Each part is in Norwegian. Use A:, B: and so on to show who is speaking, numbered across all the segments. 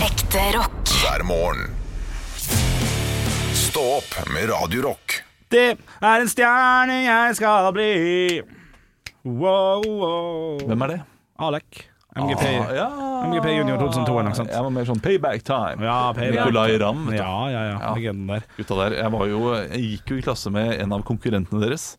A: Ekte rock.
B: hver morgen. Stå opp med Radio Rock.
C: Det er en stjerne jeg skal bli. Wow, wow.
D: Hvem er det?
C: Alek. MGP.
D: Ah, ja.
C: MGP Junior 2002 eller noe sånt.
D: Jeg var mer sånn payback time.
C: Ja, payback.
D: Nicolay Ramm. vet du.
C: Ja, ja, ja. Legenden der.
D: Gutta der. Jeg, var jo, jeg gikk jo i klasse med en av konkurrentene deres.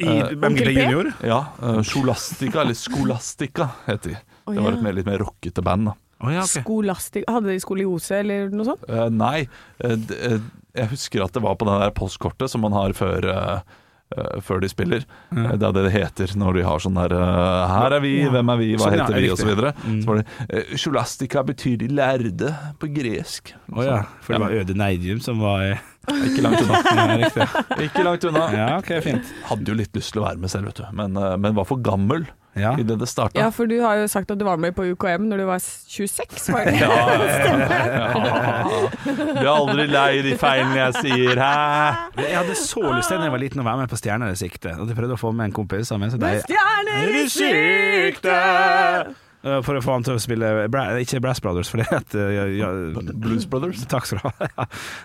C: I MGP
E: P?
C: Eh, Junior?
D: Ja, eh, Scholastica, eller Skolastica heter de.
E: Å,
D: Det var
E: ja.
D: et mer, litt mer rockete band, da.
C: Å, ja, ok.
E: Skolastik Hadde de skoliose eller noe sånt?
D: Eh, nei, eh, d- eh, jeg husker at det var på det der postkortet som man har før eh, eh, før de spiller. Eh, Det er det det heter når de har sånn der eh, Her er vi, hvem er vi, hva
C: Sånn, Mm. ja,
D: heter vi,
C: riktig. Mm.
D: osv. Så, videre. så var det eh, Scholastica betyr de lærde på gresk.
C: Å ja, for det var Øde Neidium som var
D: Ikke langt unna.
C: Ja, riktig.
D: Ikke langt unna.
C: Ja, ok, fint.
D: Hadde jo litt lyst til å være med selv, vet du. Men, eh, men var for gammel
C: Ja.
D: i det det starta.
E: Ja, for du har jo sagt at du var med på UKM når du var 26, var det ikke?
D: Blir aldri lei de feilene jeg sier, hæ?
C: Jeg hadde så lyst til da jeg var liten å være med på Stjerner i sikte. Og jeg prøvde å få med en kompis sammen. Så
E: Med
C: de,
E: stjerner i sikte!
C: Eh, for å få han til å spille bra, Ikke Brass Brothers, for det heter ja, ja,
D: Blues Brothers.
C: Takk skal du ha.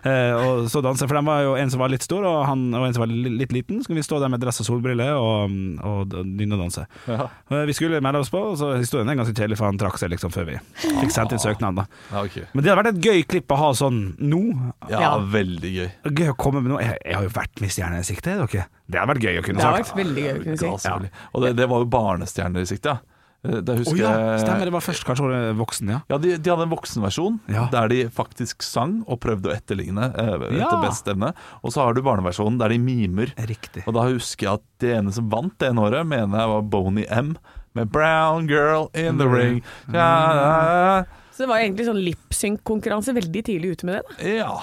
C: Eh, og så danse, for den var jo en som var litt stor, og, han, og en som var li- litt liten. Så kunne vi stå der med dress og solbriller og, mm, og, og nynne og danse.
D: Ja.
C: Eh, Vi skulle melde oss på, og så historien er ganske kjedelig, for han trakk seg liksom før vi
D: Ah.
C: fikk sendt inn søknad. da
D: Ja, ok.
C: Men det hadde vært et gøy klipp å ha sånn nå.
D: ja,
E: Ja.
D: veldig gøy.
C: Gøy å komme med noe. Jeg, jeg har jo vært med Stjerner i sikte, dere. Det hadde vært gøy å kunne
E: Det har
C: sagt.
E: vært veldig gøy å kunne si.
D: Ja, selvfølgelig. Og det, det var jo barnestjerner i sikte. ja. Eh, Da
C: Å
D: husker
C: ja,
D: jeg
C: stemmer. Det var først kanskje året voksen, ja.
D: Ja, de, de hadde en voksenversjon
C: Ja.
D: der de faktisk sang og prøvde å etterligne eh, etter
C: Ja.
D: best evne. Og så har du barneversjonen der de mimer.
C: Riktig.
D: Og da husker jeg at det ene som vant det ene året, mener jeg var Boney M. Med 'Brown Girl in the Ring'. Ja, ja,
E: Så det var egentlig sånn lipsynk-konkurranse veldig tidlig ute med det. da.
D: ja.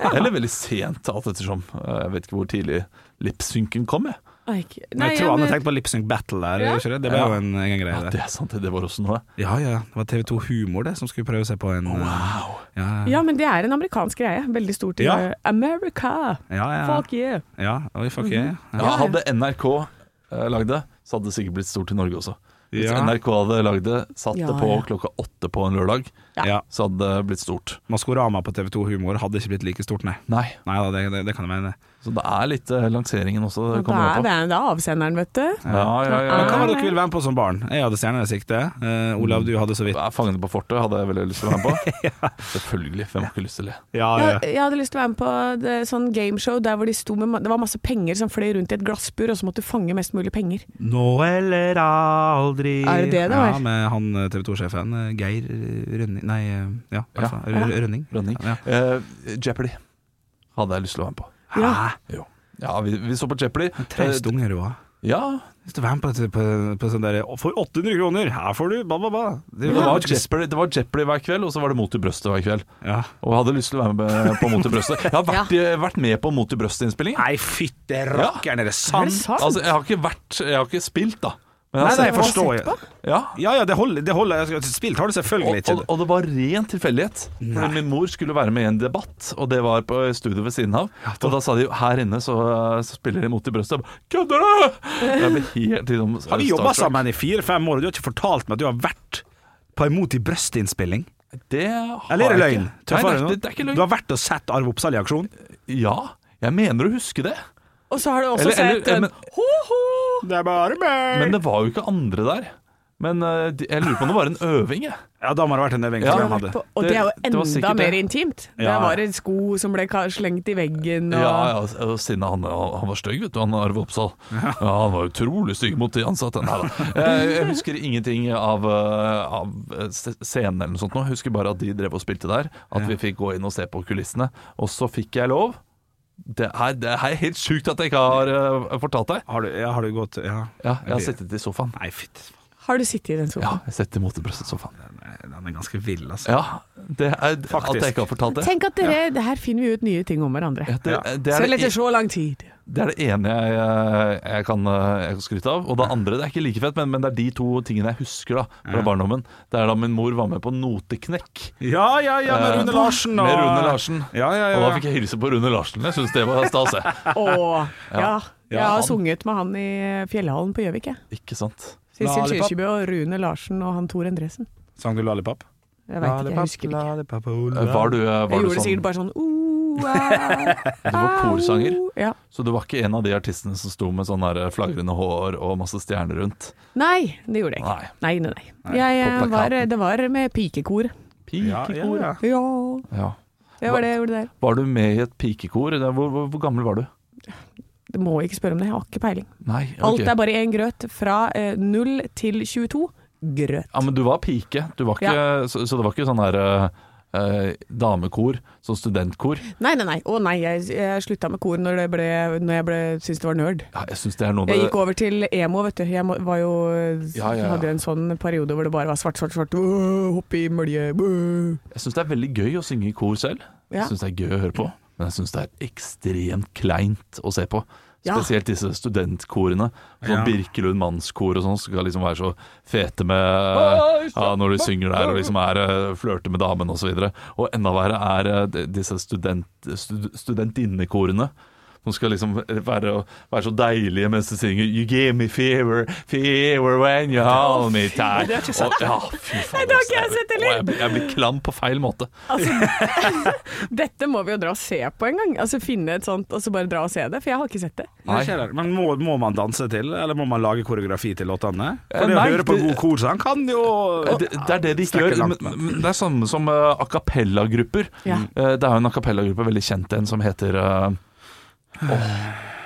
D: ja. Eller veldig sent, alt ettersom. Eh, Jeg vet ikke hvor tidlig lipsynken kom, jeg.
E: Nei, ikke-
C: Men jeg tror han
E: men-
C: har tenkt på Lipsync Battle der,
E: Ja.
C: gjør ikke det? Det ble
D: Ja.
C: jo en egen greie der.
D: Ah, Det er sant, det var også noe.
C: Ja, ja. Det var TV2 Humor det som skulle prøve seg på en Wow. Ja, ja.
E: Ja, men det er en amerikansk greie. Veldig stort i
C: Ja.
E: America.
C: ja, ja.
E: Fuck yeah.
C: ja. Oi, fuck
E: Mhm.
C: yeah. Ja.
D: Ja, hadde NRK eh, lagd det, så hadde det sikkert blitt stort i Norge også. Hvis
C: Ja.
D: NRK hadde lagd det, satt
E: Ja,
D: det på
E: ja.
D: klokka åtte på en lørdag,
E: Ja.
C: Ja.
D: så hadde det blitt stort.
C: Maskorama på TV2 Humor hadde ikke blitt like stort, nei.
D: Nei,
C: Nei da, det, det, det kan jeg mene.
D: så det er litt eh, lanseringen også. Det
E: Og Da
D: kommer
E: er
D: jeg på.
E: det det er avsenderen, vet du.
D: Ja, ja, ja.
C: Men hva
D: ja.
E: Ah.
C: var det dere ville være med på som barn? Jeg hadde stjerner i sikte. Eh, Olav, du hadde så vidt.
D: Ja, Fangene på fortet hadde jeg veldig lyst til å være med på. Selvfølgelig. Hvem har ikke lyst til det?
C: Ah,
E: Jeg, jeg hadde lyst til å være med på det, sånn gameshow der hvor de sto med ma- Det var masse penger som fløy rundt i et glassbur, og så måtte du fange mest mulig penger.
C: Nå eller aldri.
E: Er det det det var?
C: Ja, med han TV 2-sjefen, eh, Geir eh, Rønning Nei, eh, ja, hva
D: Ja.
C: faen? Rø- Rø- Rønning.
D: Rønning.
C: Ja.
D: Eh, Jeopardy hadde jeg lyst til å være med på.
C: Ah,
E: Ja.
C: Hæ?
D: Jo. Ja, vi, vi så på Jeopardy.
C: Treist unge du var.
D: Eh, Ja,
C: Lyst til å være med på, et- på, på sånn der «Å, For 800 kroner, her får du ba, ba, ba. Det
D: det
C: var
D: var,
C: jo ikke
D: Jeopardy, det var Jeopardy hver kveld, og så var det Mot i brøstet hver kveld.
C: ja.
D: Og jeg hadde lyst til å være med på Mot i brøstet. Jeg har vært, eh, vært med på Mot i brøstet-innspilling.
C: Nei, fytte
D: rakkeren,
C: er det
E: Er det sant?
D: Altså, jeg har ikke vært Jeg har ikke spilt, da. Men
C: Nei,
D: jeg
C: nei,
D: har
C: jeg
D: sett
C: forstår
E: sett
C: jo.
D: Ja.
C: Ja, ja, det holder. Det holder. Jeg skal- Spilt har du selvfølgelig
D: Og,
C: ikke.
D: og, og det var ren tilfeldighet.
C: Nei.
D: Fordi Min mor skulle være med i en debatt, og det var på studio ved siden av.
C: da-
D: og da sa de jo her inne så, så spiller de mot i brøstet. Jeg bare, Kødder du?! Jeg ble helt liksom
C: Har vi jobba
D: starstruck.
C: sammen i fire-fem år, og du har ikke fortalt meg at du har vært på imot i brøstinnspilling?
D: Det har
C: Eller er det
D: jeg
C: løgn?
D: Ikke. Nei,
C: Tøffere
D: det, er
C: nå.
D: ikke- det er ikke løgn.
C: Du har vært og sett Arve Oppsal i aksjon?
D: Ja, jeg mener å huske det.
E: Og så har du også
D: Eller-
E: sett eh,
D: eller-
E: den
D: men-
E: Ho-ho!
C: Det er bare meg!
D: Men det var jo ikke andre der. Men eh, de- jeg lurer på om det var en øving, jeg.
C: ja, da må det ha vært en øving.
D: Ja.
C: tror jeg
D: han
E: Og
C: han hadde.
E: det er jo
D: Det- det var
E: enda
D: sikkert det.
E: mer intimt. Det
C: Ja.
E: var en sko som ble ka- slengt i veggen, og
D: Ja, ja, og siden han, han var stygg, vet du, han Arve Oppsal. Ja, han var utrolig stygg mot de ansatte. Nei da. Jeg, jeg husker ingenting av, eh, av eh, se- scenen eller noe sånt nå. Jeg husker bare at de drev og spilte der. At vi fikk gå inn og se på kulissene. Og så fikk jeg lov. Det er, det er helt sjukt at jeg ikke har eh, fortalt deg.
C: Har du, ja, har du gått Ja.
D: Ja, jeg har sittet i sofaen.
C: Nei, fytti
E: Har du sittet i den sofaen?
D: Ja, jeg sitter mot brøstet-sofaen.
C: Den er ganske vill, altså.
D: Ja, det er at
C: Faktisk.
D: jeg ikke har fortalt det.
E: Tenk at dere det Her finner vi ut nye ting om hverandre.
D: Ja, det,
C: Ja.
D: det, er
E: Selv
D: det,
E: etter så lang tid.
D: Det er det ene jeg, eh, jeg, kan, jeg kan skryte av. Og det andre det er ikke like fett, men, men det er de to tingene jeg husker da fra barndommen. Det er da min mor var med på Noteknekk
C: Ja, ja, ja, med
D: Eh,
C: Rune Larsen og
D: med Rune Larsen.
C: Ja, ja, ja.
D: Og da fikk jeg hilse på Rune Larsen. Jeg syns det var stas. jeg.
E: Åh, ja. Jeg har
D: han-
E: sunget med han i Fjellhallen på Gjøvik, jeg.
D: Ikke sant?
E: Sissel
C: Lollipop.
E: Kyrkjebø og Rune Larsen og han Tor Endresen.
C: Sang du Lollipop?
E: Jeg vet ikke, jeg husker ikke.
C: ikke.
D: Var du, eh,
E: Jeg
D: var du
E: gjorde det sikkert
D: sånn
E: bare sånn uh, ah,
D: Du var korsanger?
E: au. Ja.
D: Så du var ikke en av de artistene som sto med sånn der flagrende hår og masse stjerner rundt?
E: Nei, det gjorde jeg ikke.
D: Nei.
E: Nei, nei, nei. Jeg, eh,
D: på plakaten.
E: var, det var med pikekor.
C: Ja, ja,
D: Pikekor,
C: ja.
E: Ja,
D: ja.
E: det var det jeg gjorde der.
D: Var du med i et pikekor? Det- Hvor, hvor, hvor gammel var du?
E: Du må ikke spørre om det, jeg har ikke peiling.
D: Nei, ok.
E: Alt er bare én grøt. Fra eh, 0 til 22 grøt.
D: Ja, men du var pike. Du var ikke, så, så det var ikke sånn der eh, eh, damekor, sånn studentkor.
E: Nei, nei, nei. Å nei, jeg, jeg slutta med kor når, det ble, når jeg ble, syntes det var nerd.
D: Ja, jeg syns det er noe
E: Jeg gikk over til emo, vet du. Jeg må- var jo
D: Ja, ja, ja.
E: Hadde jo en sånn periode hvor det bare var svart, svart, svart. Øh, Hoppe i mølje. øh.
D: Jeg syns det er veldig gøy å synge i kor selv.
E: Ja.
D: Jeg syns det er gøy å høre på, men jeg syns det er ekstremt kleint å se på.
E: Ja.
D: Spesielt disse studentkorene. Sånn
C: Ja.
D: Birkelund mannskor og sånn, som skal liksom være så fete med eh, ja, Når de synger der og liksom er eh, flørter med damene og så videre. Og enda verre er eh, de- disse student, stud, studentinnekorene. Som skal liksom være, være så deilige mens de synger You give me fever, fever when you hold me tight.
E: det har jeg ikke sett.
D: Og- ja, fy faen,
E: Nei, det har ikke jeg
D: ass.
E: sett heller.
D: Og Jeg, blir- jeg blir klam på feil måte.
E: Dette må vi jo dra og se på en gang. Altså Finne et sånt, og så bare dra og se det. For jeg har ikke sett det.
D: Nei.
C: Men må, må man danse til, eller må man lage koreografi til låtene?
D: Eh,
C: For det å
D: nei,
C: høre på
D: det-
C: god korsang kan jo
D: Eh, Det, det er det de ikke
C: Snakker
D: gjør.
C: langt,
D: Men, men det er samme som eh, a cappella-grupper.
E: Ja.
D: Eh, det er jo en a cappella-gruppe, veldig kjent en, som heter eh, åh,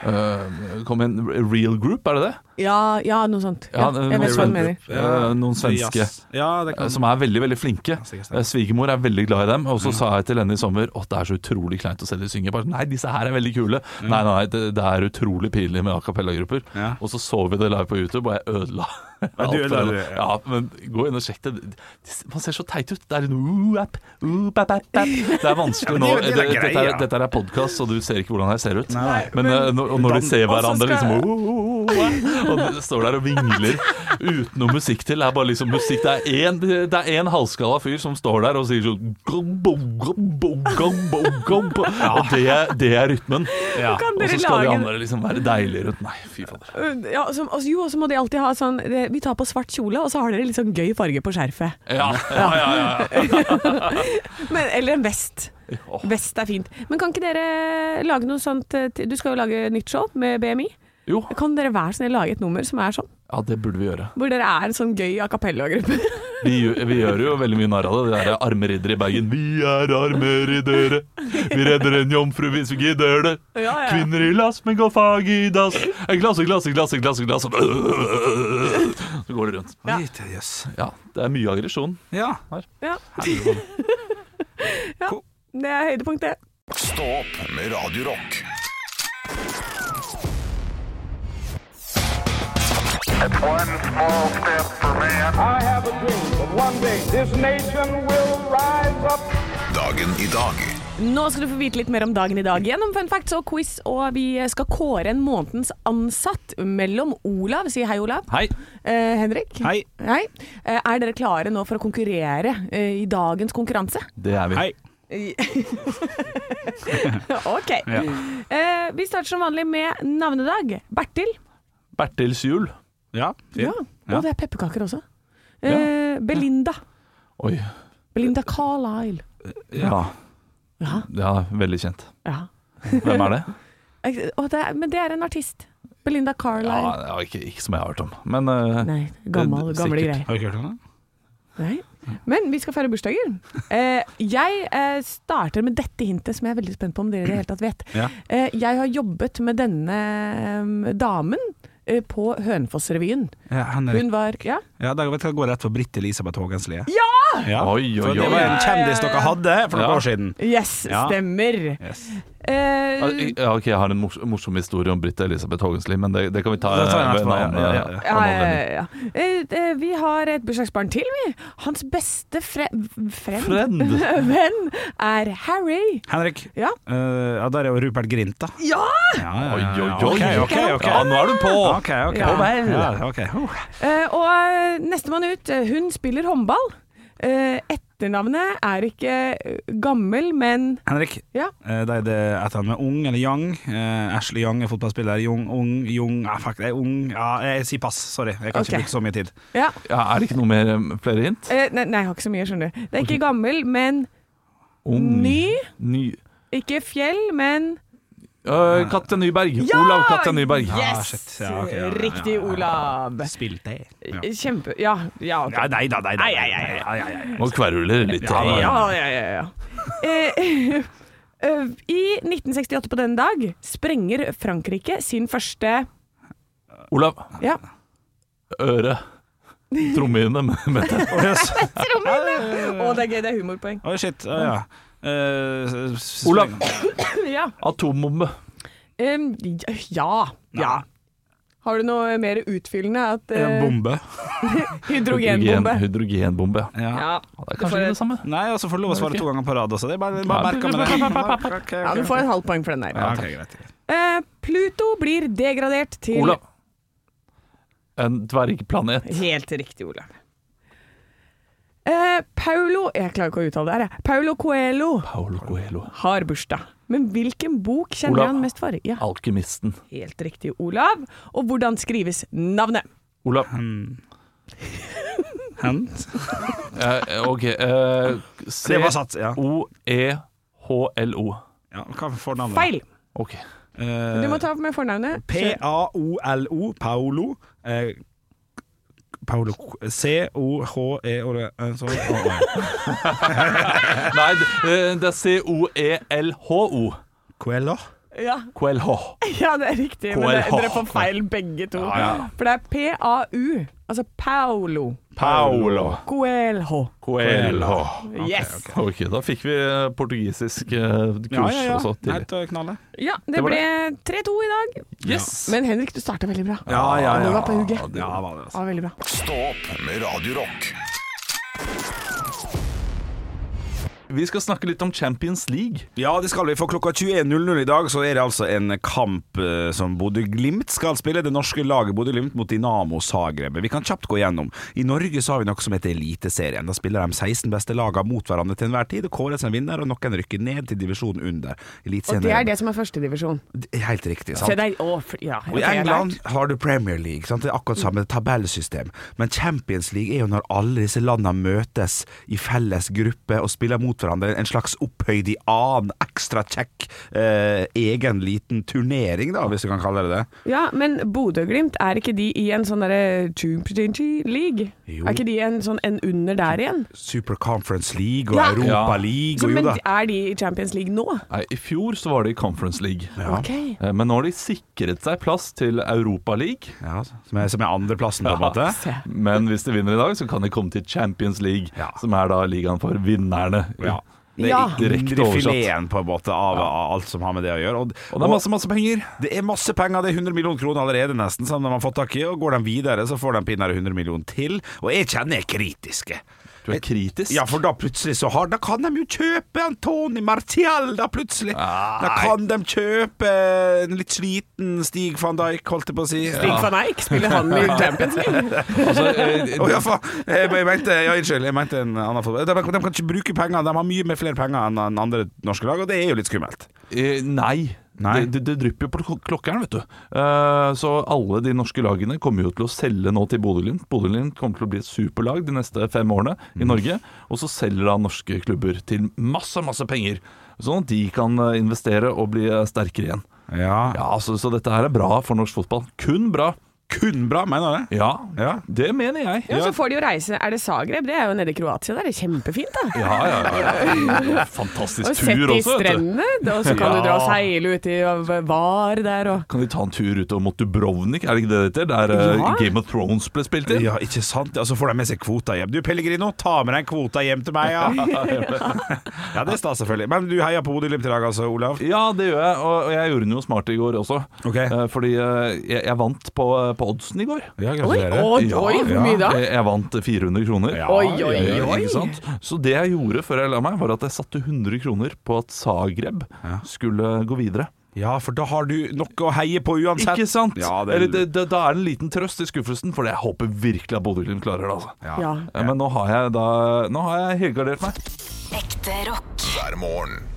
D: eh, Kom igjen, Real Group, er det det?
E: Ja, ja noe sånt. Ja,
D: Ja,
E: jeg vet hva du mener.
D: Eh, noen svenske.
C: Jazz. Ja, det
D: eh,
C: kan
D: Som er veldig veldig flinke.
C: Ja, sikkert.
D: Eh, Svigermor er veldig glad i dem.
C: Mm.
D: Og så sa jeg til henne i sommer at det er så utrolig kleint å se de synge. Jeg Bare, nei, disse her er veldig kule. Nei, nei, det, det er utrolig pinlig med a cappella-grupper.
C: Mm. Ja.
D: Og så så vi det live på YouTube, og jeg ødela
C: Ja, du
D: alt for
C: ødela
D: henne.
C: det, ja.
D: Ja, men gå inn og sjekk det. De- Man ser så teit ut. Det er en uh-app, uh-bap-app. Det er
C: Ja,
D: vanskelig
C: men
D: nå.
C: det er- det er
D: Det-
C: greia.
D: Dette er, dette er podkast, så du ser ikke hvordan jeg ser ut.
C: Nei, nei.
D: Men eh, når, og når de ser
E: Og så
D: hverandre
E: skal-
D: liksom «Uh-uh-uh-uh», Og de står der og vingler uten noe musikk til. Det er bare liksom musikk Det er én- det er én halvskalla fyr som står der og sier sånn «Gom, bom, gom, bom, gom, bom, gom», Og det, er- det er rytmen.
C: Ja.
E: Kan
D: Og
E: dere
D: så skal de
E: lage-
D: andre liksom være deilige rundt. Nei, fy fader.
E: Uh, Ja, så, altså, jo, og så må de alltid ha sånn det- Vi tar på svart kjole, og så har dere litt sånn gøy farge på skjerfet.
D: Ja, ja, ja, ja, ja.
E: Men, eller en vest.
D: Åh.
E: Vest er fint. Men kan ikke dere lage noe sånt eh, til- Du skal jo lage nytt show med BMI.
D: Jo,
E: Kan dere være snill lage et nummer som er sånn?
D: ja, det burde vi gjøre.
E: Hvor dere er en sånn gøy a cappella-gruppe.
D: Vi, gjør- vi gjør jo veldig mye narr av det. Det derre armeriddere i Bergen. Vi er armeriddere, vi redder en jomfru hvis vi gidder det.
E: Ja, ja.
D: Kvinner i lass, men går fag i dass. En klasse, klasse, klasse, klasse, klasse. Så går det rundt.
E: Ja.
C: Lite, Jøss.
D: Ja, det er mye aggresjon.
C: Ja.
E: Ja. ja. Det er høydepunktet.
B: Stå opp med Radio Rock.
A: One small step for man.
F: I have a dream that one day this nation will rise up.
B: Dagen i dag.
E: Nå skal du få vite litt mer om dagen i dag gjennom fun facts og quiz, og vi skal kåre en månedens ansatt mellom Olav Si hei, Olav.
D: Hei.
E: Eh, Henrik.
C: Hei.
E: Eh, er dere klare nå for å konkurrere eh, i dagens konkurranse?
D: Det er vi.
C: Hei.
E: ok. Eh, vi starter som vanlig med navnedag. Bertil.
D: Bertils jul.
C: Ja. Fin.
E: Og det er pepperkaker også. Eh, Belinda.
D: Oi.
E: Belinda Carlisle.
D: Ja.
E: Ja.
D: ja, veldig kjent.
E: ja.
D: Hvem er det?
E: Eh, og det er, men det er en artist. Belinda
D: Ja,
E: Carlisle.
D: ja, ikke, ikke som jeg har hørt om. Men eh,
E: Nei, gammel,
D: Det- det-
E: gamle
D: sikkert.
E: greier.
C: Har du ikke hørt om det?
E: Nei. Men vi skal feire bursdager. Eh, jeg eh, starter med dette hintet, som jeg er veldig spent på om dere i det hele tatt vet.
C: Ja.
E: Eh, jeg har jobbet med denne eh, damen eh, på Hønefoss-revyen.
C: Ja, Henrik.
E: Hun var Ja,
C: Ja, da vet jeg gå rett for Britt Elisabeth Haagenslie.
E: ja!
C: Ja.
D: Oi,
C: For
D: oi,
C: det var
D: oi.
C: en kjendis dere hadde for noen
D: Ja.
C: år siden.
E: Yes,
C: Ja.
E: stemmer.
C: Yes.
D: Ja,
E: Eh,
D: jeg- ah, ja, ok, Jeg har en mors morsom historie om Britt Elisabeth Haagensli, men det, det kan vi ta
C: Det tar jeg
D: eh, ved en
C: etterpå, ja,
D: annen
C: ja, ja, ja.
D: annen
E: ja, ja,
D: anledning.
E: ja. Eh, eh, vi har et bursdagsbarn til, vi. Hans beste fre friend.
D: Friend!
E: venn er Harry.
C: Henrik.
E: Ja.
C: Eh, ja, der er jo Rupert Grint, da.
E: Ja!
C: Ja, ja,
D: Oi, oi, oi.
C: Ok, ok, ok.
D: Ja, nå er du på!
C: Ok, ok.
E: Ja.
C: Ja, ok. Oh.
E: Eh, og eh, nestemann ut, eh, hun spiller håndball. Eh, et, Etternavnet er ikke eh, gammel, men
C: Henrik,
E: Ja.
C: eh, det er det etternavnet Ung eller Young. Eh, Ashley Young er fotballspiller. Young, Ung, Young ah, Fuck, det er Ung. Ja, jeg sier pass. Sorry, jeg kan
E: Ok.
C: ikke bruke så mye tid.
E: ja.
D: Ja, er det ikke noe mer, eh, flere hint?
E: Eh, nei, nei, jeg har ikke så mye, skjønner du. Det er ikke gammel, men
D: Ung.
E: ny.
D: Ny.
E: Ikke fjell, men
D: Øh, Katja Nyberg.
E: Ja!
D: Olav Katja Nyberg.
C: Ah,
E: Yes!
C: shit. Ja, ok, ja, ja,
E: Riktig,
C: ja, ja.
E: Olav. Eh,
C: Spill det. Ja.
E: Kjempe... Ja, ja, ok.
C: Ja, nei da, nei da.
E: Ai, ai, ai,
C: Ai, ai, ai.
D: Nå kveruler det litt. her.
E: Ja, ja, ja, ja. Eh, eh, I 1968 på denne dag sprenger Frankrike sin første
D: Olav.
E: Ja,
D: Øre. Trommehinne, mente jeg.
C: Å, yes.
E: Å, det er gøy, det er humorpoeng.
C: Å, shit. Å, ja. Eh, s- s-
D: Olav.
E: Ja.
D: Atombombe.
E: Em, ja. ja. Har du noe mer utfyllende? At,
C: En
E: eh,
C: bombe.
E: hydrogenbombe.
D: Hydrogen- Hydrogenbombe. ja.
C: Ja.
E: Ja.
D: Det er
E: Du får
D: kanskje ikke det
E: et-
D: samme.
C: Nei, og så får du lov å svare
D: Ok.
C: to ganger på rad også. Det er bare, bare
D: Ja.
C: merka med det.
E: ja, du får et halvt poeng for den der.
C: Ja, ok, greit.
E: Eh, Pluto blir degradert til
D: Olav. En dvergplanet.
E: Helt riktig, Olav. Eh, Paulo Jeg klarer ikke å uttale det her, jeg. Paulo Coelho
D: Paolo Coelho.
E: har bursdag. Men hvilken bok kjenner
D: Olav.
E: han mest for? Ja,
D: Alkymisten.
E: Helt riktig, Olav. Og hvordan skrives navnet?
D: Olav.
C: Hen?
D: Eh, ok. Eh, C-
C: Det var satt, ja.
D: E O-E-H-L-O.
C: ja hva får navnet?
E: Feil.
D: Ok.
C: Eh,
E: Du må ta med fornavnet.
C: P-A-O-L-O, Paolo. Eh, Paolo C-O-H-E-O eh, sorry. Å, å, ja.
D: Nei, det, eh, det er E C-O-E-L-H-O.
C: Coelho?
E: Ja,
D: Coelho.
E: ja det er riktig, men det,
D: Coelho.
E: dere får feil begge to.
D: Ja, ja.
E: For det er P-A-U, altså Paolo
D: Paolo.
E: Coelho.
D: Coelho.
E: Yes!
D: Ok, da fikk vi eh, portugisisk eh, kurs
C: Ja, ja, ja.
D: også
C: Nei,
D: tidlig.
C: til å knalle.
E: Ja, det,
D: Det var
E: ble 3-2 i dag.
D: Yes!
E: Men Henrik, du starta veldig bra.
C: Ja, ja,
E: Du
C: ja.
E: var på hugget.
C: Ja, hva var det, altså.
E: Ja, veldig bra.
B: Stå opp med Radio Rock.
D: Vi skal snakke litt om Champions League.
C: Ja, det skal vi. For klokka 21.00 i dag så er det altså en kamp eh, som Bodø-Glimt skal spille. Det norske laget Bodø-Glimt mot Dinamo Zagreb. Vi kan kjapt gå gjennom. I Norge så har vi noe som heter Eliteserien. Da spiller de 16 beste lagene mot hverandre til enhver tid. Det kåres en vinner, og noen rykker ned til divisjonen under.
E: Og det er det som er førstedivisjon.
C: Helt riktig. sant?
E: Se der. Å, fl- ja.
C: Og I
E: ok, jeg har
C: England
E: lært.
C: har du Premier League. Sant? Det er akkurat
E: Mm.
C: samme tabellsystem. Men Champions League er jo når alle disse landene møtes i felles gruppe og spiller mot hverandre. En slags opphøyd i annen, ekstra kjekk eh, egen liten turnering, da, hvis du kan kalle det det.
E: Ja, men Bodø-Glimt, er ikke de i en sånn derre Champions League?
C: Jo.
E: Er ikke de en sånn en under der igjen?
C: Super Conference League og
E: Ja.
C: Europa
D: Ja.
C: League
E: Så,
C: og
E: men
C: jo da.
E: er de i Champions League nå?
D: Nei, I fjor så var det i Conference League.
C: Ja.
E: Ok.
D: Eh, Men nå har de sikret seg plass til Europa League.
C: Ja, som er, som er andreplassen, på en måte.
E: Se.
D: Men hvis de vinner i dag, så kan de komme til Champions League,
C: Ja.
D: som er da ligaen for vinnerne.
C: Ja. Det er
E: Ja.
D: Direkte
C: indre
D: oversatt.
C: fileten på en måte av, av alt som har med det å gjøre. Og,
D: Og det er masse, masse penger.
C: Det er masse penger, det er 100 millioner kroner allerede nesten som de har fått tak i, og går de videre så får de pinadø 100 millioner til, og jeg kjenner jeg er kritiske.
D: Du er kritisk.
C: Ja, for da plutselig så har Da kan de jo kjøpe Antoni Martial, da plutselig! Da kan de kjøpe en litt sliten Stig van Dijk, holdt jeg på å si.
E: Stig van Eijk spiller han i Champions League.
D: Altså, eh,
C: Å ja, faen! Jeg, jeg mente Ja, unnskyld, jeg mente en annen fotball. De, de kan ikke bruke penger, de har mye mer flere penger enn enn andre norske lag, og det er jo litt skummelt.
D: eh, nei.
C: Nei.
D: Det, det, det drypper jo på klok- klokkeren, vet du. Eh, så alle de norske lagene kommer jo til å selge nå til Bodø-Glimt. Bodø-Glimt kommer til å bli et superlag de neste fem årene
C: Mm.
D: i Norge. Og så selger da norske klubber til masse, masse penger. Sånn at de kan eh, investere og bli eh, sterkere igjen.
C: Ja,
D: Ja, altså, så, så dette her er bra for norsk fotball. Kun bra.
C: kun bra, mener jeg.
D: Ja,
C: Ja.
D: det mener jeg.
E: Ja, så får de jo reise. Er det Zagreb? Det er jo nede i Kroatia. Det er kjempefint, da.
D: Ja, ja, ja, ja. Fantastisk
E: Og sett
D: tur
E: i
D: også, vet du.
E: strendene, og så kan du dra og seile ut i Var der og
D: Kan de ta en tur ut mot Dubrovnik, er det ikke det det heter? Der eh,
E: Ja.
D: Game of Thrones ble spilt inn?
C: Ja, ikke sant? Og så får de med seg kvota hjem. Du Pellegrino, ta med deg en kvota hjem til meg, ja! ja, det er stas, selvfølgelig. Men du heier på Bodø-Glimt i dag, altså, Olav?
D: Ja, det gjør jeg, og og jeg gjorde den jo smart i går også.
C: Ok.
D: Eh, Fordi eh, jeg, jeg vant på, eh, på oddsen i går.
C: Ja,
E: Oi, oi, oi, hvor mye da?
D: Eh, Jeg vant 400 kroner.
C: Ja,
E: Oi, oi,
D: Eh,
E: oi.
D: Ikke sant? Så det jeg gjorde før jeg la meg, var at jeg satte 100 kroner på at Zagreb skulle gå videre.
C: Ja, for da har du noe å heie på uansett.
D: Ikke sant?
C: Ja, det,
D: Eller, det, det, da er det en liten trøst i skuffelsen, for jeg håper virkelig at Bodø-Glimt klarer det. altså
C: ja.
E: Ja.
D: Eh, Men nå har jeg da Nå har jeg helgardert meg.
G: Ekte rock.
B: hver morgen.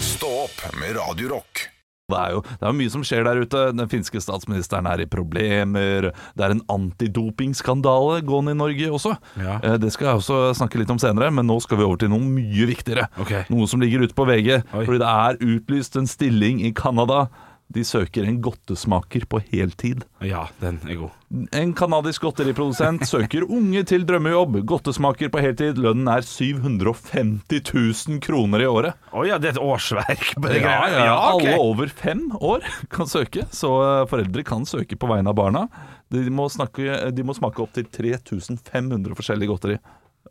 B: Stå opp med Radio Rock.
D: Det er, jo, det er jo mye som skjer der ute. Den finske statsministeren er i problemer. Det er en antidopingskandale gående i Norge også.
C: Ja.
D: Eh, Det skal jeg også snakke litt om senere, men nå skal vi over til noe mye viktigere.
C: Ok.
D: Noe som ligger ute på VG.
C: Oi.
D: Fordi det er utlyst en stilling i Canada. De søker en godtesmaker på heltid.
C: ja, den er god.
D: En kanadisk godteriprodusent søker unge til drømmejobb. Godtesmaker på heltid. Lønnen er 750 000 kroner i året.
C: Å ja, det er et årsverk på det
D: Ja,
C: greia.
D: ja,
C: Ja, ok.
D: Alle over fem år kan søke, så eh, foreldre kan søke på vegne av barna. De må, snakke, de må smake opptil 3500 forskjellige godteri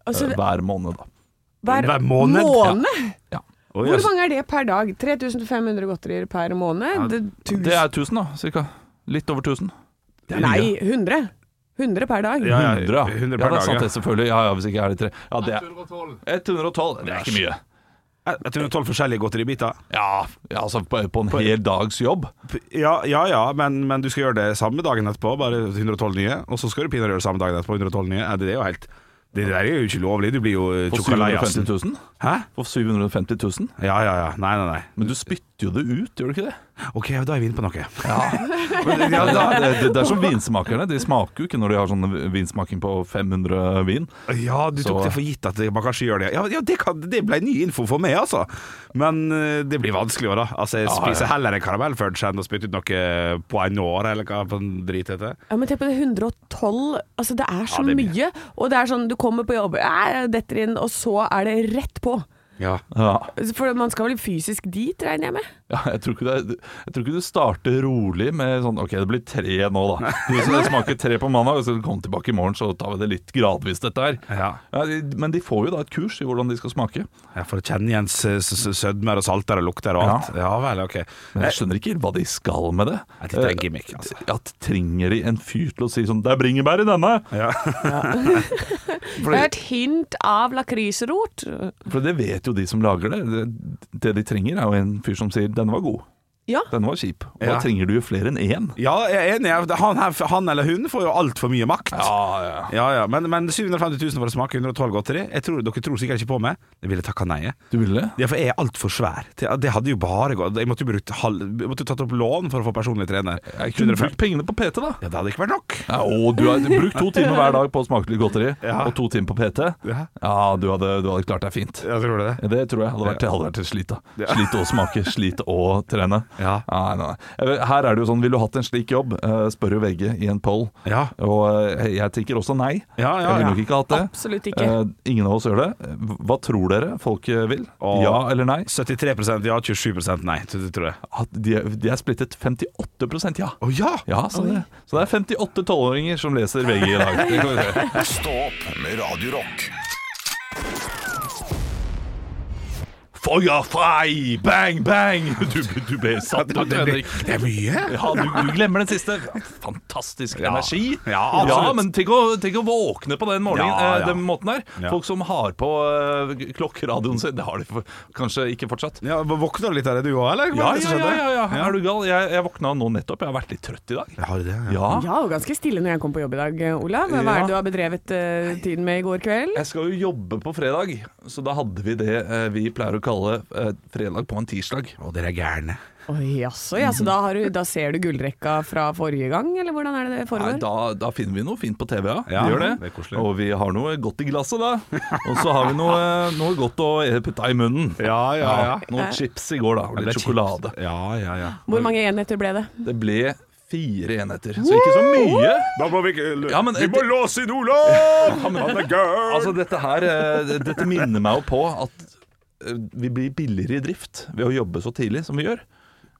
E: Altså,
D: eh, hver måned. da.
C: hver måned?
D: Ja.
C: Å,
H: Hvor
C: jøss.
H: mange er det per dag? 3500 godterier per måned? Det-
D: Det er 1000, da, cirka. Litt over 1000.
H: Nei, 100. 100 per dag.
C: Ja, ja,
D: 100, ja.
C: 100 per
D: ja, det er
C: dag,
D: sant
C: ja.
D: det, selvfølgelig. Ja, ja, hvis ikke er det tre. Ja, det er 112. Det er ikke mye.
C: Jeg tror det er tolv forskjellige godteribiter.
D: Ja, ja altså på, på en hel dags jobb.
C: Ja, ja, ja men, men du skal gjøre det samme dagen etterpå, bare 112 nye. Og så skal du pinadø gjøre det samme dagen etterpå, 112 nye. Ja, det er jo helt Det der er jo ikke lovlig. Du blir jo
D: For 750
C: tjokkalajasen.
D: 000.
C: Hæ?
D: For 750 000.
C: Ja, ja, ja. Nei, nei, nei.
D: Men du spytter jo det ut, gjør du ikke det?
C: OK, da er vi inne på noe.
D: Men, ja, da, det, det, det er som vinsmakerne. De smaker jo ikke når de har sånn vinsmaking på 500 vin.
C: Ja, du tok
D: Så-
C: det for gitt at man kanskje gjør det. Ja, ja det, kan, det ble ny info for meg, altså. Men eh, det blir vanskelig også, da. Altså, jeg
D: Ja, ja.
C: spiser heller en karamellfudge enn å spytte ut noe poinår, eller hva for en drit heter.
H: Ja, men tenk på det 112. Altså, det er så
C: Ja, det er
H: mye. Og det er sånn, du kommer på jobb, æ, detter inn, og så er det rett på.
C: Ja.
D: Ja,
H: For man skal vel fysisk dit, regner jeg med?
D: ja jeg, tror ikke det, jeg tror ikke du starter rolig med sånn OK, det blir tre nå, da. Hvis det smaker tre på mandag, og så kommer tilbake i morgen, så tar vi det litt gradvis, dette her.
C: Ja.
D: de- men de får jo da et kurs i hvordan de skal smake.
C: ja, for å kjenne igjen s- s- s- sødmer og salter og lukter og alt. Ja, vel, ok. Eh,
D: Men jeg skjønner ikke hva de skal med det.
C: Nei, de trenger gimmick, altså.
D: Ja, trenger de en fyr til å si sånn 'Det er bringebær i denne!'
C: Ja.
H: Det er et hint av lakrisrot.
D: For det vet jo de som lager det. Det, det de trenger, er jo en fyr som sier 'denne var god'.
H: Ja.
D: Den var kjip. Og da
C: Ja.
D: trenger du jo flere enn én.
C: ja, jeg er enig. Han, her, han eller hun får jo altfor mye makt.
D: ja.
C: Ja, ja, Men, men 750 000 for å smake 112 godteri? Jeg tror, dere tror sikkert ikke på meg. Jeg ville takka nei. jeg.
D: Du ville det?
C: Ja, for jeg er altfor svær. Det det hadde jo bare gått Jeg måtte jo brukt halv Jeg måtte jo tatt opp lån for å få personlig trener.
D: Jeg kunne brukt pengene på PT, da.
C: Ja, det hadde ikke vært nok.
D: Ja, og du har brukt to timer hver dag på å smake litt godteri,
C: Ja.
D: og to timer på PT.
C: Ja.
D: Ja, du hadde, du hadde klart deg fint.
C: Jeg tror det.
D: Det tror jeg hadde vært, det hadde vært et slit. da Slit å smake, slit å trene.
C: Ja.
D: Nei, nei, nei. Her er det jo sånn, ville du hatt en slik jobb? Eh, Spør jo VG i en poll.
C: Ja.
D: Og eh, jeg tenker også nei.
C: Ja, ja,
D: jeg ville
C: ja.
D: nok ikke hatt det.
H: Absolutt ikke.
D: Eh, Ingen av oss gjør det. Hva tror dere folk eh, vil?
C: Åh.
D: Ja eller nei?
C: 73 ja, 27 nei, t- det tror jeg.
D: at de, er- de er splittet 58 ja.
C: Å ja!
D: Ja, så det, så det er 58 tolvåringer som leser VG i dag. Det kan vi se.
B: Stå opp med Radio Rock.
D: Feuer frei, bang, bang! Du, du ble satt ut, Henrik.
C: Det er mye.
D: Ja, du, du glemmer den siste. Fantastisk energi.
C: Ja, absolutt.
D: Ja, men tenk å, tenk å våkne på den, morgenen,
C: Ja,
D: eh,
C: ja.
D: den måten her.
C: Ja.
D: Folk som har på eh, klokkeradioen sin. Det har de for, kanskje ikke fortsatt.
C: Ja, Våkna du litt av det du òg, eller?
D: Ja,
C: Hva er det
D: ja,
C: som
D: ja,
C: skjedde?
D: ja, ja. Er du gal? Jeg, jeg våkna nå nettopp. Jeg har vært litt trøtt i dag.
C: Jeg har det, ja.
D: Ja,
H: Ja, og ganske stille når jeg kom på jobb i dag, Olav. Hva er det du har bedrevet eh, tiden med i går kveld?
D: Jeg skal jo jobbe på fredag, så da hadde vi det eh, vi pleier å kalle eh, fredag på en tirsdag.
C: Å, dere er gærne.
H: Oi, jaså, ja, så da, har du, da ser du gullrekka fra forrige gang, eller hvordan er det det
D: Nei,
H: foregår?
D: da, da finner vi noe fint på TV, ja.
C: Ja,
D: vi gjør det.
C: det er koselig.
D: og vi har noe godt i glasset, da. Og så har vi noe, eh, noe godt å putte i munnen.
C: Ja, ja, ja.
D: Noen chips i går, da. Og
C: Det er
D: litt
C: chips.
D: sjokolade.
C: Ja, ja, ja.
H: Hvor mange enheter ble det?
D: Det ble fire enheter, så ikke så mye.
C: Da må vi
D: Ja, men- Vi må
C: låse inn Olav! Han er gæren!
D: Altså, dette her eh, Dette minner meg jo på at eh, vi blir billigere i drift ved å jobbe så tidlig som vi gjør.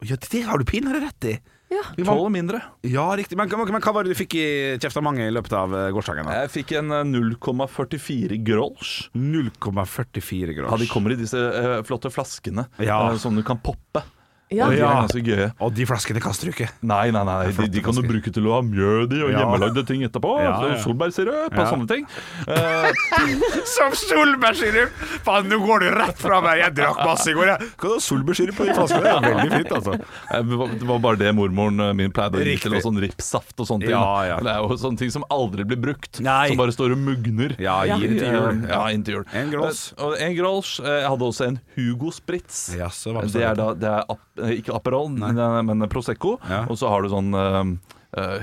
C: Ja, det har du pinadø rett i. Vi må-
D: Tolv mindre.
C: Ja, riktig. Men, men, men hva var det du fikk i kjeft av mange i løpet av eh, gårsdagen? da?
D: Jeg fikk en eh, 0,44 grolsch.
C: 0,44 grosj.
D: Ja, de kommer i disse eh, flotte flaskene
C: Ja.
D: eh, som du kan poppe. Og de er
C: Ja.
D: ganske gøye.
C: Og de flaskene kaster du ikke.
D: Nei, nei, nei, de, de kan du bruke til å ha mjød i og
C: Ja.
D: hjemmelagde ting etterpå.
C: Ja, ja.
D: så Solbærsirup og
C: Ja.
D: sånne ting. Eh,
C: Som solbærsirup! Faen, nå går du rett fra meg! Jeg drakk masse i går, jeg. Hva da, solbærsirup på de flaskene? Det er veldig fint, altså.
D: Eh, Det var- det var bare det mormoren eh, min pleide å gi til, og
C: Riktig.
D: sånn ripssaft og sånne ting.
C: Ja,
D: da.
C: ja.
D: Det er jo sånne ting som aldri blir brukt,
C: Nei.
D: som bare står og mugner.
C: Ja, gi det til jul.
D: Ja, inn til jul.
C: En Grolsch.
D: Eh, og En Grolsch. Eh, Jeg hadde også en Hugo Spritz.
C: Ja, så hva
D: det
C: sa
D: er
C: du?
D: da det er ap, eh, ikke Aperol, men, eh, men Prosecco.
C: Ja.
D: Og så har du sånn eh, eh,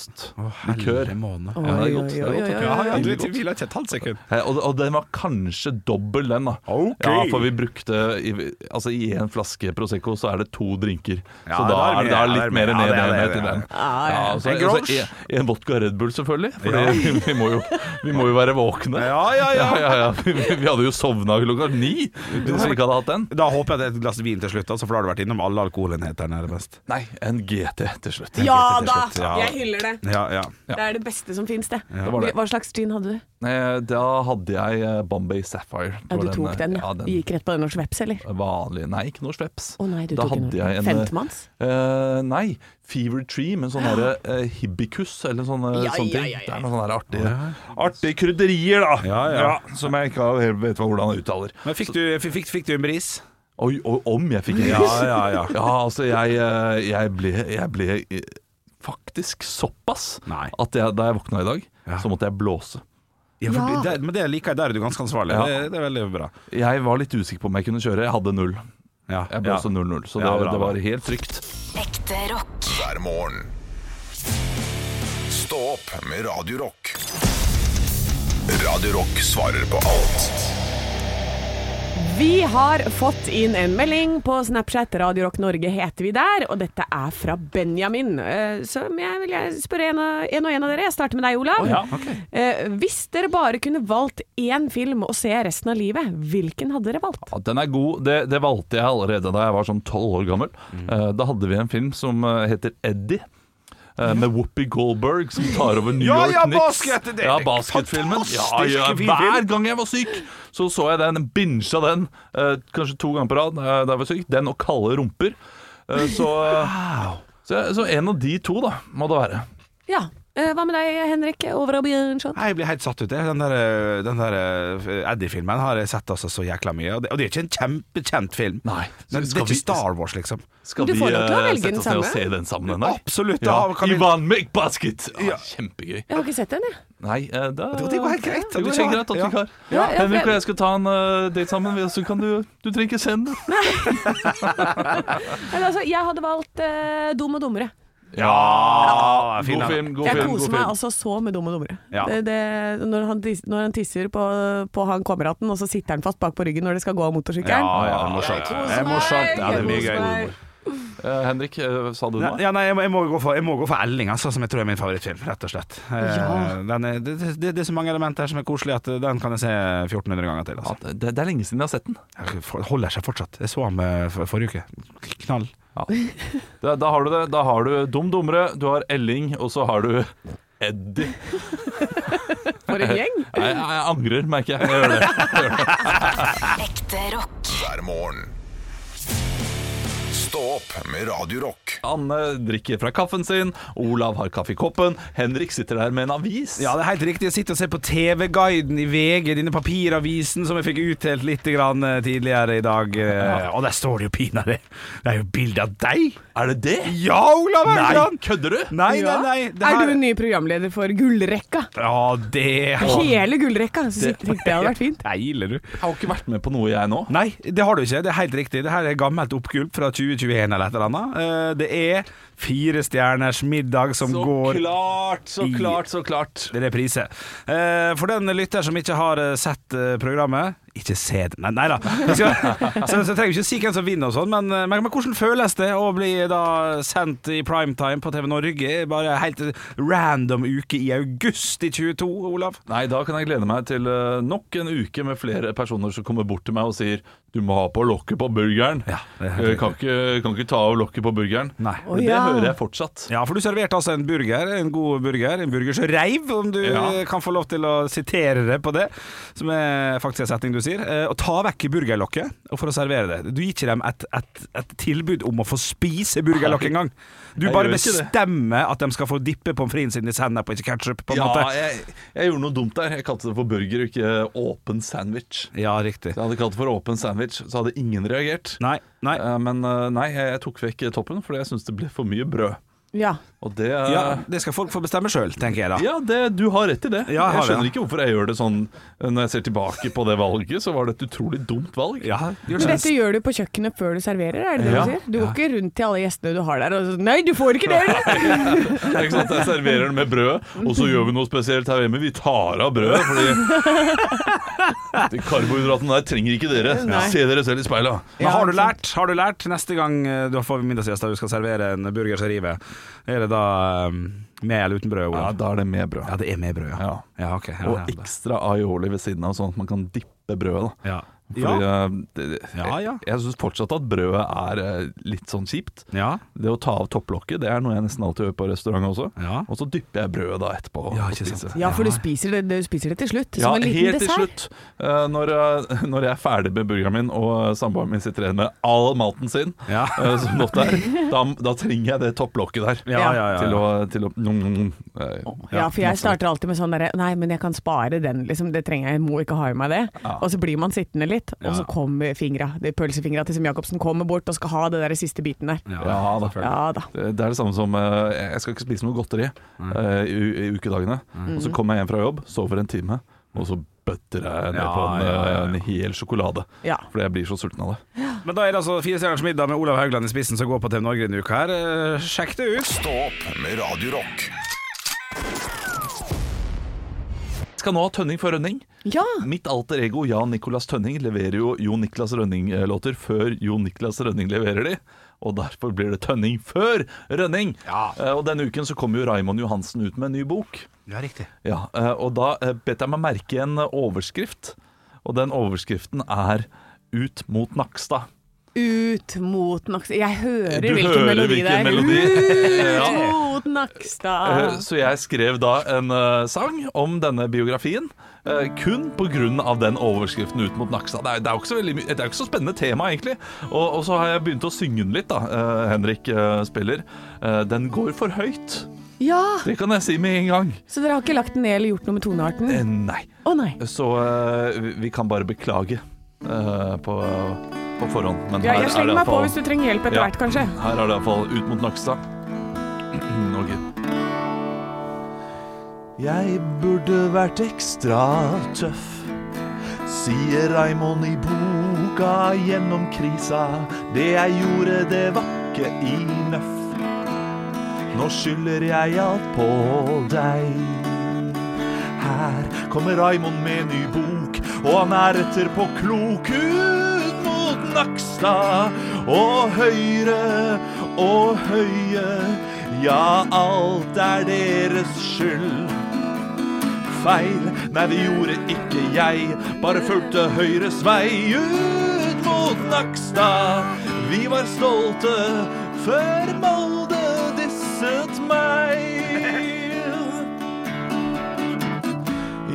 D: hylleblomstlikør.
C: måned.
D: Ja, det er godt. Det er
H: Oi, oi,
D: godt.
H: oi, oi,
C: Ja, ja, du
D: Veldig
C: vet,
D: godt.
C: vi la ikke et halvt sekund.
D: Eh, Og, og den var kanskje dobbel, den. da
C: Ok.
D: Ja, For vi brukte i, Altså i én flaske Prosecco så er det to drinker.
C: Ja,
D: så
C: det
D: da
C: er
D: er det da er
C: mer,
D: det litt
C: ja, det
D: mer
C: er
D: ned
C: mer, ja, det er
D: ned
C: det,
D: til
C: ja.
D: den. Ja, altså, og så-
C: En
D: og så
C: Grolsch.
D: en, en vodka Red Bull, selvfølgelig. For det, vi, må jo, vi må jo være våkne.
C: Ja, ja, ja.
D: ja. Vi, vi hadde jo sovna klokka ni hvis vi ikke hadde hatt den.
C: Da håper jeg det er et glass vin til slutt, altså, for da har du vært innom alle alkoholenhetene. Er det best.
D: Nei, en GT til slutt.
H: Ja
C: til
H: da!
C: slutt, ja.
H: Jeg hyller det.
C: Ja, ja.
H: Det er det beste som finnes, det.
D: Det var det.
H: Hva slags gin hadde du?
D: Eh, Da hadde jeg eh, Bombay Sapphire.
H: Ja,
D: Det
H: du
D: var
H: tok
D: eh,
H: den, ja.
D: ja,
H: Du
D: den
H: gikk rett på den norsk veps, eller?
D: vanlig Nei, ikke norsk veps.
H: Å nei, du
D: da
H: tok en
D: hadde jeg en
H: femtemanns?
D: eh, nei, Fever Tree med sånn derre eh, hibicus eller sånne,
H: Ja,
D: sånne
H: ja,
D: ting.
H: ja, ja.
D: Det er noen sånne der artige, artige krydderier, da.
C: Ja, ja.
D: som jeg ikke helt vet hva- hvordan jeg uttaler.
C: Men fikk du, fikk, fikk, fikk du en bris?
D: Oi, oi, om jeg fikk en
C: Ja,
D: ris.
C: ja, ja.
D: Ja, altså, jeg, eh, jeg ble, jeg ble eh, faktisk såpass
C: Nei.
D: at jeg, da jeg våkna i dag,
C: Ja.
D: så måtte jeg blåse.
C: Ja, for det- Det, men det liker jeg. Der er du ganske ansvarlig.
D: Ja.
C: Det, det er veldig bra.
D: Jeg var litt usikker på om jeg kunne kjøre. Jeg hadde null.
C: Ja,
D: Jeg blåste
C: ja.
D: 0-0, så det,
C: Ja, bra,
D: det
C: bra.
D: var helt trygt.
G: Ekte rock.
B: hver morgen. Stå opp med Radio Rock. Radio Rock svarer på alt
H: Vi har fått inn en melding på Snapchat. Radio Rock Norge heter vi der, og dette er fra Benjamin. Eh, Som jeg vil jeg spørre en, av- en og en av dere. Jeg starter med deg, Olav. Eh, Hvis dere bare kunne valgt én film å se resten av livet, hvilken hadde dere valgt?
D: Ja, den er god. Det, det valgte jeg allerede da jeg var sånn tolv år gammel.
C: Mm.
D: Eh, da hadde vi en film som eh, heter Eddie. eh, Med Whoopi Goldberg som tar over New
C: Ja,
D: York
C: ja,
D: Knicks.
C: basket, det er
D: ja,
C: en
D: basketfilmen. Ja,
C: fantastisk
D: ja,
C: fin
D: hver
C: film.
D: gang jeg var syk, så så jeg den. Binsja den eh, kanskje to ganger på rad eh, da jeg var syk. Den og Kalde rumper. Eh, så, så, så en av de to, da, må det være.
H: Ja, eh, Hva med deg, Henrik Over og Bjørnson?
C: Nei, Jeg blir helt satt ut. jeg. Den der, eh, den der eh, Eddie-filmen har jeg sett altså så jækla mye. Og det, og det er ikke en kjempekjent film.
D: Nei.
C: Men det
D: Skal
C: er
D: vi-
C: ikke Star Wars, liksom.
D: Skal
H: Du
D: vi
H: får lov til å
D: eh,
H: velge
D: sette
H: den
D: oss ned og
H: samme.
D: se den sammen en dag?
C: Absolutt,
D: Ja.
C: da kan vi-
D: Ivan McBasket! Ah,
C: Ja.
D: Kjempegøy.
H: Jeg har ikke sett den, jeg.
D: Nei, eh, da,
C: Det- det går helt greit.
D: Det går
C: Det går
D: helt greit at
C: ja.
D: du ikke har.
H: Ja, ja,
D: Henrik
H: for-
D: og jeg skal ta en eh, date sammen, vi- så kan du Du trenger ikke sende den.
H: Eller, altså, jeg hadde valgt eh, Dum og dummere.
C: Ja, fin,
D: god
C: da.
D: film, god
H: Jeg
D: film.
H: koser
D: god
H: meg
D: film.
H: altså så med Dum og dummere.
C: Ja.
H: Det, det, når, han tis, når han tisser på, på han kameraten, og så sitter han fast bak på ryggen når de skal gå av
C: Ja,
H: motorsykkelen.
C: ja, det er morsomt. Det er morsomt. Ja, det er mye gøy.
D: Eh, Henrik, eh, sa du
C: Nei,
D: noe?
C: ja, nei, jeg, må, jeg, må gå for, jeg må gå for Elling, altså, som jeg tror er min favorittfilm, rett og slett. Eh, den er, det, det, det er så mange elementer her som er koselige at eh, den kan jeg se 1400 ganger til.
D: Ja,
C: Altså.
D: det, det er lenge siden jeg har sett den.
C: Jeg for- holder seg fortsatt. Jeg så ham eh, for, forrige uke. Knall.
D: Da, da har du det. Da har du Dum Dummere, du har Elling, og så har du Eddie.
H: For en gjeng!
D: Jeg, jeg angrer, merker jeg. jeg gjør det.
G: Ekte rock.
B: hver morgen. Stå opp med Radio Rock
D: Anne drikker fra kaffen sin, Olav har kaffe i koppen, Henrik sitter der med en avis.
C: Ja, det er helt riktig. Jeg sitter og ser på TV-guiden i VG, denne papiravisen som jeg fikk utdelt litt grann eh, tidligere i dag. eh, Og der står det jo pinadø Det er jo bilde av deg!
D: Er det det?
C: Ja, Olav
D: Nei,
C: Haugland!
D: kødder du?
C: Nei, nei,
H: Ja.
C: nei. det
H: Er
C: her-
H: du en ny programleder for Gullrekka?
C: Ja, det
H: Hele Gullrekka, så tenkte jeg det hadde vært fint.
C: Deiler du.
D: Jeg har ikke vært med på noe, jeg nå.
C: Nei, det har du ikke. Det er helt riktig. Det her er gammelt oppgulp fra 2021 eller et eller annet. Eh, Det er Fire stjerners middag som
D: Så
C: går
D: klart, så
C: i-
D: klart, så klart.
C: Det er reprise. Eh, For den lytter som ikke har eh, sett eh, programmet Ikke se det Nei, nei da. Jeg Skal, så, så trenger vi ikke si hvem som vinner og sånn, men, eh, men, men hvordan føles det å bli da sendt i primetime på TV Norge? Bare helt eh, random uke i august i 22, Olav?
D: Nei, da kan jeg glede meg til eh, nok en uke med flere personer som kommer bort til meg og sier Du må ha på lokket på burgeren.
C: Ja, det er helt
D: Eh, kan, ikke, kan ikke ta av lokket på burgeren.
C: Nei.
D: Men det
H: ja.
D: hører jeg fortsatt.
C: Ja, for du serverte altså en burger, en god burger, en burger som reiv, om du
D: Ja.
C: kan få lov til å sitere det på det, som er faktisk en setning du sier. eh, Å ta vekk burgerlokket og for å servere det. Du gir ikke dem et, et, et tilbud om å få spise burgerlokket engang. Du
D: Jeg
C: bare
D: gjør ikke det.
C: bestemmer at de skal få dippe pommes fritesen sin i sennep og ikke ketsjup, på en
D: Ja,
C: måte.
D: jeg, jeg gjorde noe dumt der. Jeg kalte det for burger og ikke åpen sandwich.
C: Ja, riktig.
D: Jeg hadde kalt det for åpen sandwich, så hadde ingen reagert.
C: Nei, nei.
D: Eh, Men eh, nei, jeg jeg tok vekk toppen fordi jeg syntes det ble for mye brød.
H: Ja.
D: Og det eh,
C: Ja, det skal folk få bestemme sjøl, tenker jeg da.
D: Ja, det, du har rett i det.
C: Ja, jeg har
D: jeg
C: det,
D: skjønner
C: ja.
D: ikke hvorfor jeg gjør det sånn Når jeg ser tilbake på det valget, så var det et utrolig dumt valg.
C: Ja, gjør
H: Men
C: sånn.
H: dette gjør du på kjøkkenet før du serverer, er det det
D: Ja.
H: du sier? Du går ikke rundt til alle gjestene du har der og sånn Nei, du får ikke det! eller?»
D: Det er ikke sant, Jeg serverer den med brød, og så gjør vi noe spesielt her hjemme. Vi tar av brødet, fordi De karbohydratene der trenger ikke dere. Se dere selv i speilet.
C: Men har du lært, har du lært neste gang eh, du får middagsgjester og du skal servere en burger som river, er det da eh, med eller uten brød?
D: Ja,
C: Olav?
D: da er det med brød.
C: Ja, det er med brød, ja.
D: Ja.
C: ja ok. Ja, ja,
D: Og ekstra aioli ved siden av, sånn at man kan dippe brødet. da.
C: Ja.
D: Fordi,
C: ja.
D: eh, det, det,
C: Ja, ja.
D: Jeg, jeg syns fortsatt at brødet er eh, litt sånn kjipt.
C: ja.
D: Det å ta av topplokket det er noe jeg nesten alltid gjør på restaurant også.
C: Ja.
D: Og så dypper jeg brødet da etterpå. og-
C: Ja,
D: og
C: ikke sant.
D: spiser.
H: Ja, for du spiser det, du spiser det til slutt,
D: Ja,
H: som en liten
D: helt til
H: dessert.
D: slutt. eh, Når, eh, når jeg er ferdig med burgeren min, og eh, samboeren min sitter igjen med all maten sin,
C: Ja.
D: eh, som godt er, da, da trenger jeg det topplokket der.
C: Ja, ja, ja, ja.
D: Til å, til å mm, mm, eh,
H: Ja, for jeg
D: masse.
H: starter alltid med sånn derre Nei, men jeg kan spare den, liksom. Det trenger jeg, jeg må ikke ha i meg det. Og så blir man sittende litt, og så kommer fingra. Det er pølsefingra til Sem Jacobsen kommer bort og skal ha det der siste biten der.
C: Ja,
D: Ja, da.
C: selvfølgelig.
H: Ja da.
D: Det det er det samme som eh, Jeg skal ikke spise noe godteri eh, i, u- i ukedagene.
C: Mm.
D: Og så kommer jeg hjem fra jobb, sover en time, og så bøtter jeg ned
C: Ja,
D: på
C: ja,
D: en,
C: ja.
D: eh, en hel sjokolade.
H: Ja.
D: Fordi jeg blir så sulten av det.
C: Men da er det altså Fire stjerners middag med Olav Haugland i spissen som går på TV Norge denne uka her. Eh, Sjekk det ut.
B: Stå opp med Radio Rock.
D: Skal nå ha Tønning for Rønning.
H: Ja.
D: Mitt alter ego Jan Nicolas Tønning leverer jo Jo Niklas Rønning-låter før Jo Niklas Rønning leverer de. Og derfor blir det Tønning før Rønning.
C: Ja.
D: Eh, Og denne uken så kommer jo Raimond Johansen ut med en ny bok.
C: Ja, riktig.
D: Ja, eh, og da eh, bet jeg meg merke en eh, overskrift, og den overskriften er ut mot Nakstad.
H: Ut mot Nakstad Jeg hører
D: Du
H: hvilken
D: hører
H: melodi
D: hvilken
H: det er.
D: melodi. Ja.
H: Ut mot
D: Eh,
H: Nakstad.
D: Så jeg skrev da en eh, sang om denne biografien, eh, kun pga. den overskriften ut mot Nakstad. Det er, det er jo ikke så, veldig, my- det er jo ikke så spennende tema, egentlig. Og, og så har jeg begynt å synge den litt, da. eh, Henrik eh, spiller. Eh, Den går for høyt.
H: Ja,
D: Det kan jeg si med en gang.
H: så dere har ikke lagt den ned eller gjort noe med tonearten?
D: Eh, Nei.
H: Å nei.
D: Så eh, vi- vi kan bare beklage eh, på, på forhånd. Men
H: Ja,
D: her
H: jeg
D: er det
H: slenger meg på
D: iallfall-
H: hvis du trenger hjelp etter
D: Ja.
H: hvert, kanskje.
D: Her er det iallfall ut mot Nakstad. Ok. Jeg burde vært ekstra tøff, sier Raimond i boka gjennom krisa. Det jeg gjorde, det var ikke enough. Nå skylder jeg alt på deg. Her kommer Raimond med ny bok, og han er etterpå klok ut mot Nakstad. Og høyre og høye, ja, alt er deres skyld. Feil, nei, det gjorde ikke jeg, bare fulgte Høyres vei ut mot Nakstad. Vi var stolte før Molde disset meg.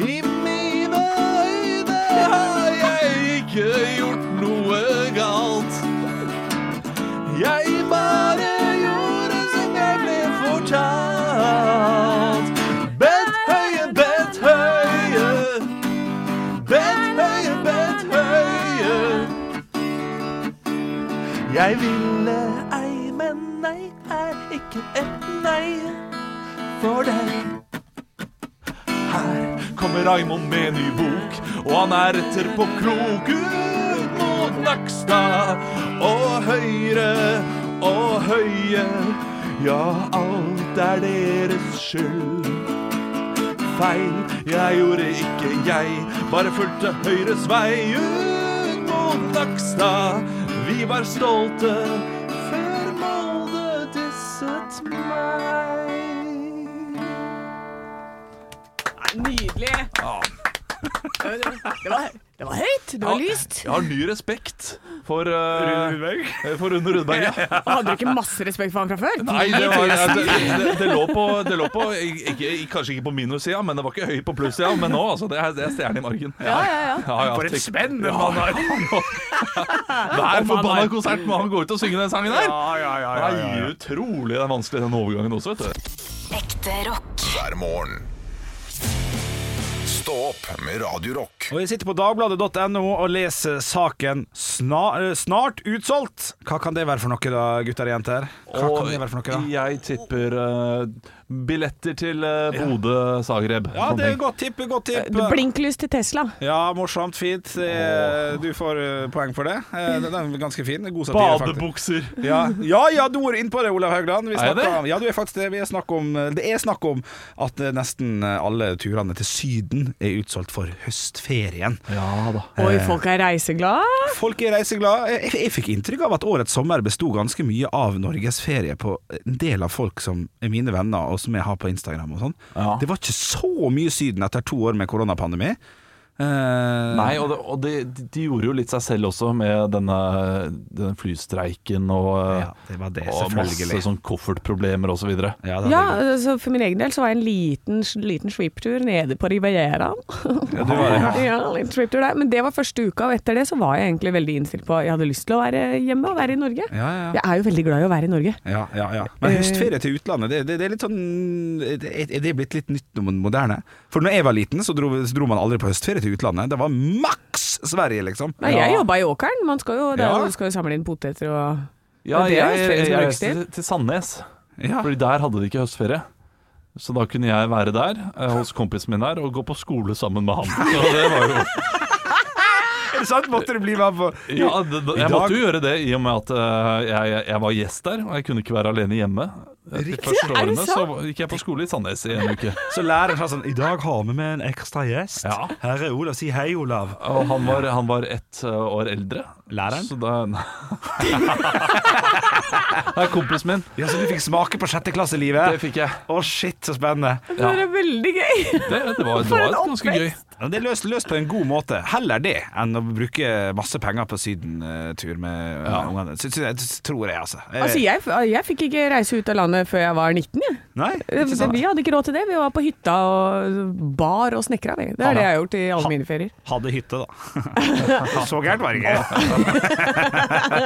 D: I mine øyne har jeg ikke gjort noe galt. Jeg bare gjorde som jeg ble fortalt. Bent høye, bent høye. Bent høye, bent høye. Jeg ville ei, men nei er ikke et nei for deg. Her kommer Raimond med en ny bok, og han er etterpå klok ut mot Nakstad. Og høyre og høye, ja, alt er deres skyld. Feil, jeg gjorde ikke jeg, bare fulgte Høyres vei ut mot Nakstad. Vi var stolte før Molde disset meg.
H: Nydelig.
E: Det var, det var høyt, det var lyst.
D: Jeg har ny respekt for eh, For Rune Rudberg, ja.
E: Hadde du ikke masse respekt for han fra før?
D: Nei, det, var, det, det, det lå på, det lå på ikke, Kanskje ikke på minussida, men det var ikke høyt på plussida. Men nå, altså. Det er, det er stjerne i margen. Ja,
E: ja,
D: ja,
C: For et
D: tenk-
C: spenn den mannen har!
D: Hver forbanna konsert må han gå ut og synge den sangen der.
C: Ja, ja, ja,
D: Det
C: ja,
D: er
C: ja, ja.
D: utrolig den vanskelig den overgangen også, vet du.
G: Ekte rock.
B: hver morgen. Stå opp med Radio Rock.
C: Og jeg sitter på dagbladet.no og leser saken snar, eh, 'Snart utsolgt'. Hva kan det være for noe, da, gutter og jenter? Hva kan det være for noe, da?
D: jeg tipper eh, billetter til eh, Bodø-Zagreb.
C: Ja, det er godt tipp, godt tipp.
H: Blinklys til Tesla.
C: Ja, morsomt, fint. Det er- Du får eh, poeng for det. Eh, Den er ganske fin. God satire, faktisk.
D: Badebukser.
C: Ja, ja, ja, du er inne på det, Olav Haugland. Vi
D: Er jeg
C: snakker
D: det?
C: om- ja, du er faktisk det. Vi er snakk om, eh, det er snakk om at eh, nesten alle turene til Syden er utsolgt for høstferien.
D: Ja da.
H: Oi,
C: Eh.
H: folk er reiseglade.
C: Folk er reiseglade. Jeg, jeg, jeg fikk inntrykk av at årets sommer besto ganske mye av norgesferie på en del av folk som er mine venner, og som jeg har på Instagram og sånn.
D: Ja.
C: Det var ikke så mye Syden etter to år med koronapandemi. Eh,
D: Nei, og, det, og de, de gjorde jo litt seg selv også med denne, denne flystreiken og,
C: Ja, det var det,
D: og masse
C: selvfølgelig.
D: sånn koffertproblemer osv. Så videre.
C: Ja, det hadde
H: Ja,
C: jeg-
H: så for min egen del så var jeg en liten, liten sweeptur nede på Rivieraen.
C: Ja, du var det.
H: Ja, en liten sweeptur der. Men det var første uka, og etter det så var jeg egentlig veldig innstilt på Jeg hadde lyst til å være hjemme og være i Norge.
C: Ja, ja, ja.
H: Jeg er jo veldig glad i å være i Norge.
C: Ja, ja, ja.
H: Eh.
C: Men høstferie til utlandet, det, det, det er litt sånn det- Er det blitt litt nytt og moderne? For når jeg var liten, så dro, så dro man aldri på høstferie til utlandet. Det var maks Sverige, liksom.
H: Nei, jeg jobba i åkeren. Man skal jo, det er,
C: Ja.
H: jo- du skal jo samle inn poteter og
D: Ja,
H: Og det
D: jeg,
H: er høstferie
D: jeg,
H: som
D: reiste
H: brukstid.
D: til, til Sandnes,
C: Ja.
D: Fordi der hadde de ikke høstferie. Så da kunne jeg være der eh, hos kompisen min der og gå på skole sammen med han. Så det var jo,
C: Er det sant? Måtte du bli med på
D: ja, det,
C: I dag-
D: jeg måtte jo gjøre det i og med at eh, jeg, jeg- jeg var gjest der, og jeg kunne ikke være alene hjemme. De første
H: Er det
D: årene så gikk jeg på skole i Sandnes i en uke.
C: Så læreren sa sånn I dag har vi med en ekstra gjest.
D: Ja.
C: Her er Olav. Si hei, Olav.
D: Og han var, han var ett eh, år eldre.
C: Læreren?
D: Så da Det er kompisen min.
C: Ja, Så du fikk smake på
D: Det
C: sjetteklasselivet?
D: fikk jeg.
C: Å, shit, så spennende.
D: Ja,
H: Det
D: det,
H: er veldig gøy!
D: det, var, det
H: For
D: var
H: en
D: ganske gøy.
C: Ja, Det er løst, løst på en god måte. Heller det enn å bruke masse penger på sydentur med ja. ungene. Så- så- så Tror jeg, altså. Eh,
H: Altså, jeg, jeg fikk ikke reise ut av landet før jeg var 19, jeg.
C: Nei,
H: Det,
C: ikke sant?
H: vi hadde ikke råd til det. Vi var på hytta og bar og snekra, vi. Det
C: Ha
H: er
C: det.
H: det jeg har gjort i
C: Ha-
H: alle mine ferier.
C: Hadde hytte, da. så gærent var det ikke.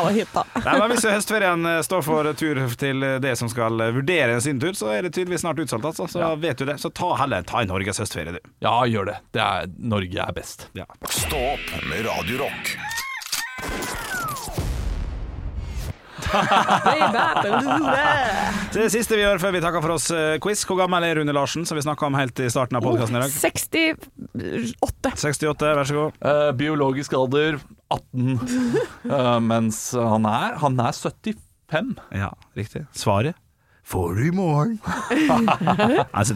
H: Alle hytta.
C: Nei, men Hvis høstferien eh, står for tur til det som skal eh, vurdere en sydentur, så er det tydeligvis snart utsolgt, altså. Så vet du det. Så ta heller ta en Norges høstferie, du.
D: Ja, gjør det. det er, Norge er best.
C: Ja.
B: Stå opp med Radio Rock.
C: Det siste vi gjør før vi takker for oss eh, quiz. Hvor gammel er Rune Larsen, som vi snakka om helt i starten av podkasten i dag?
H: 68.
C: 68, vær så god.
D: Eh, biologisk alder 18. Eh, mens han er, han er 75.
C: Ja, riktig. Svaret får du i morgen. Nei, 74.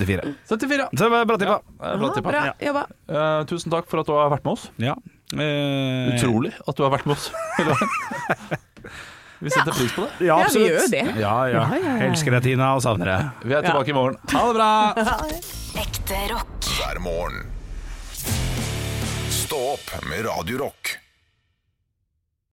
D: 74,
C: Så det var bra tippa.
D: Eh, Bra tippa.
H: Bra jobba.
D: Eh, tusen takk for at du har vært med oss.
C: Ja. Eh,
D: Utrolig at du har vært med oss. Vi setter pris på det.
C: Ja,
H: Ja, vi
C: absolutt.
H: gjør jo det.
C: Ja, ja. Elsker deg, Tina, og savner deg.
D: Vi er tilbake i morgen. Ha det bra!
G: Ekte rock.
B: hver morgen. Stå opp med Radio Rock.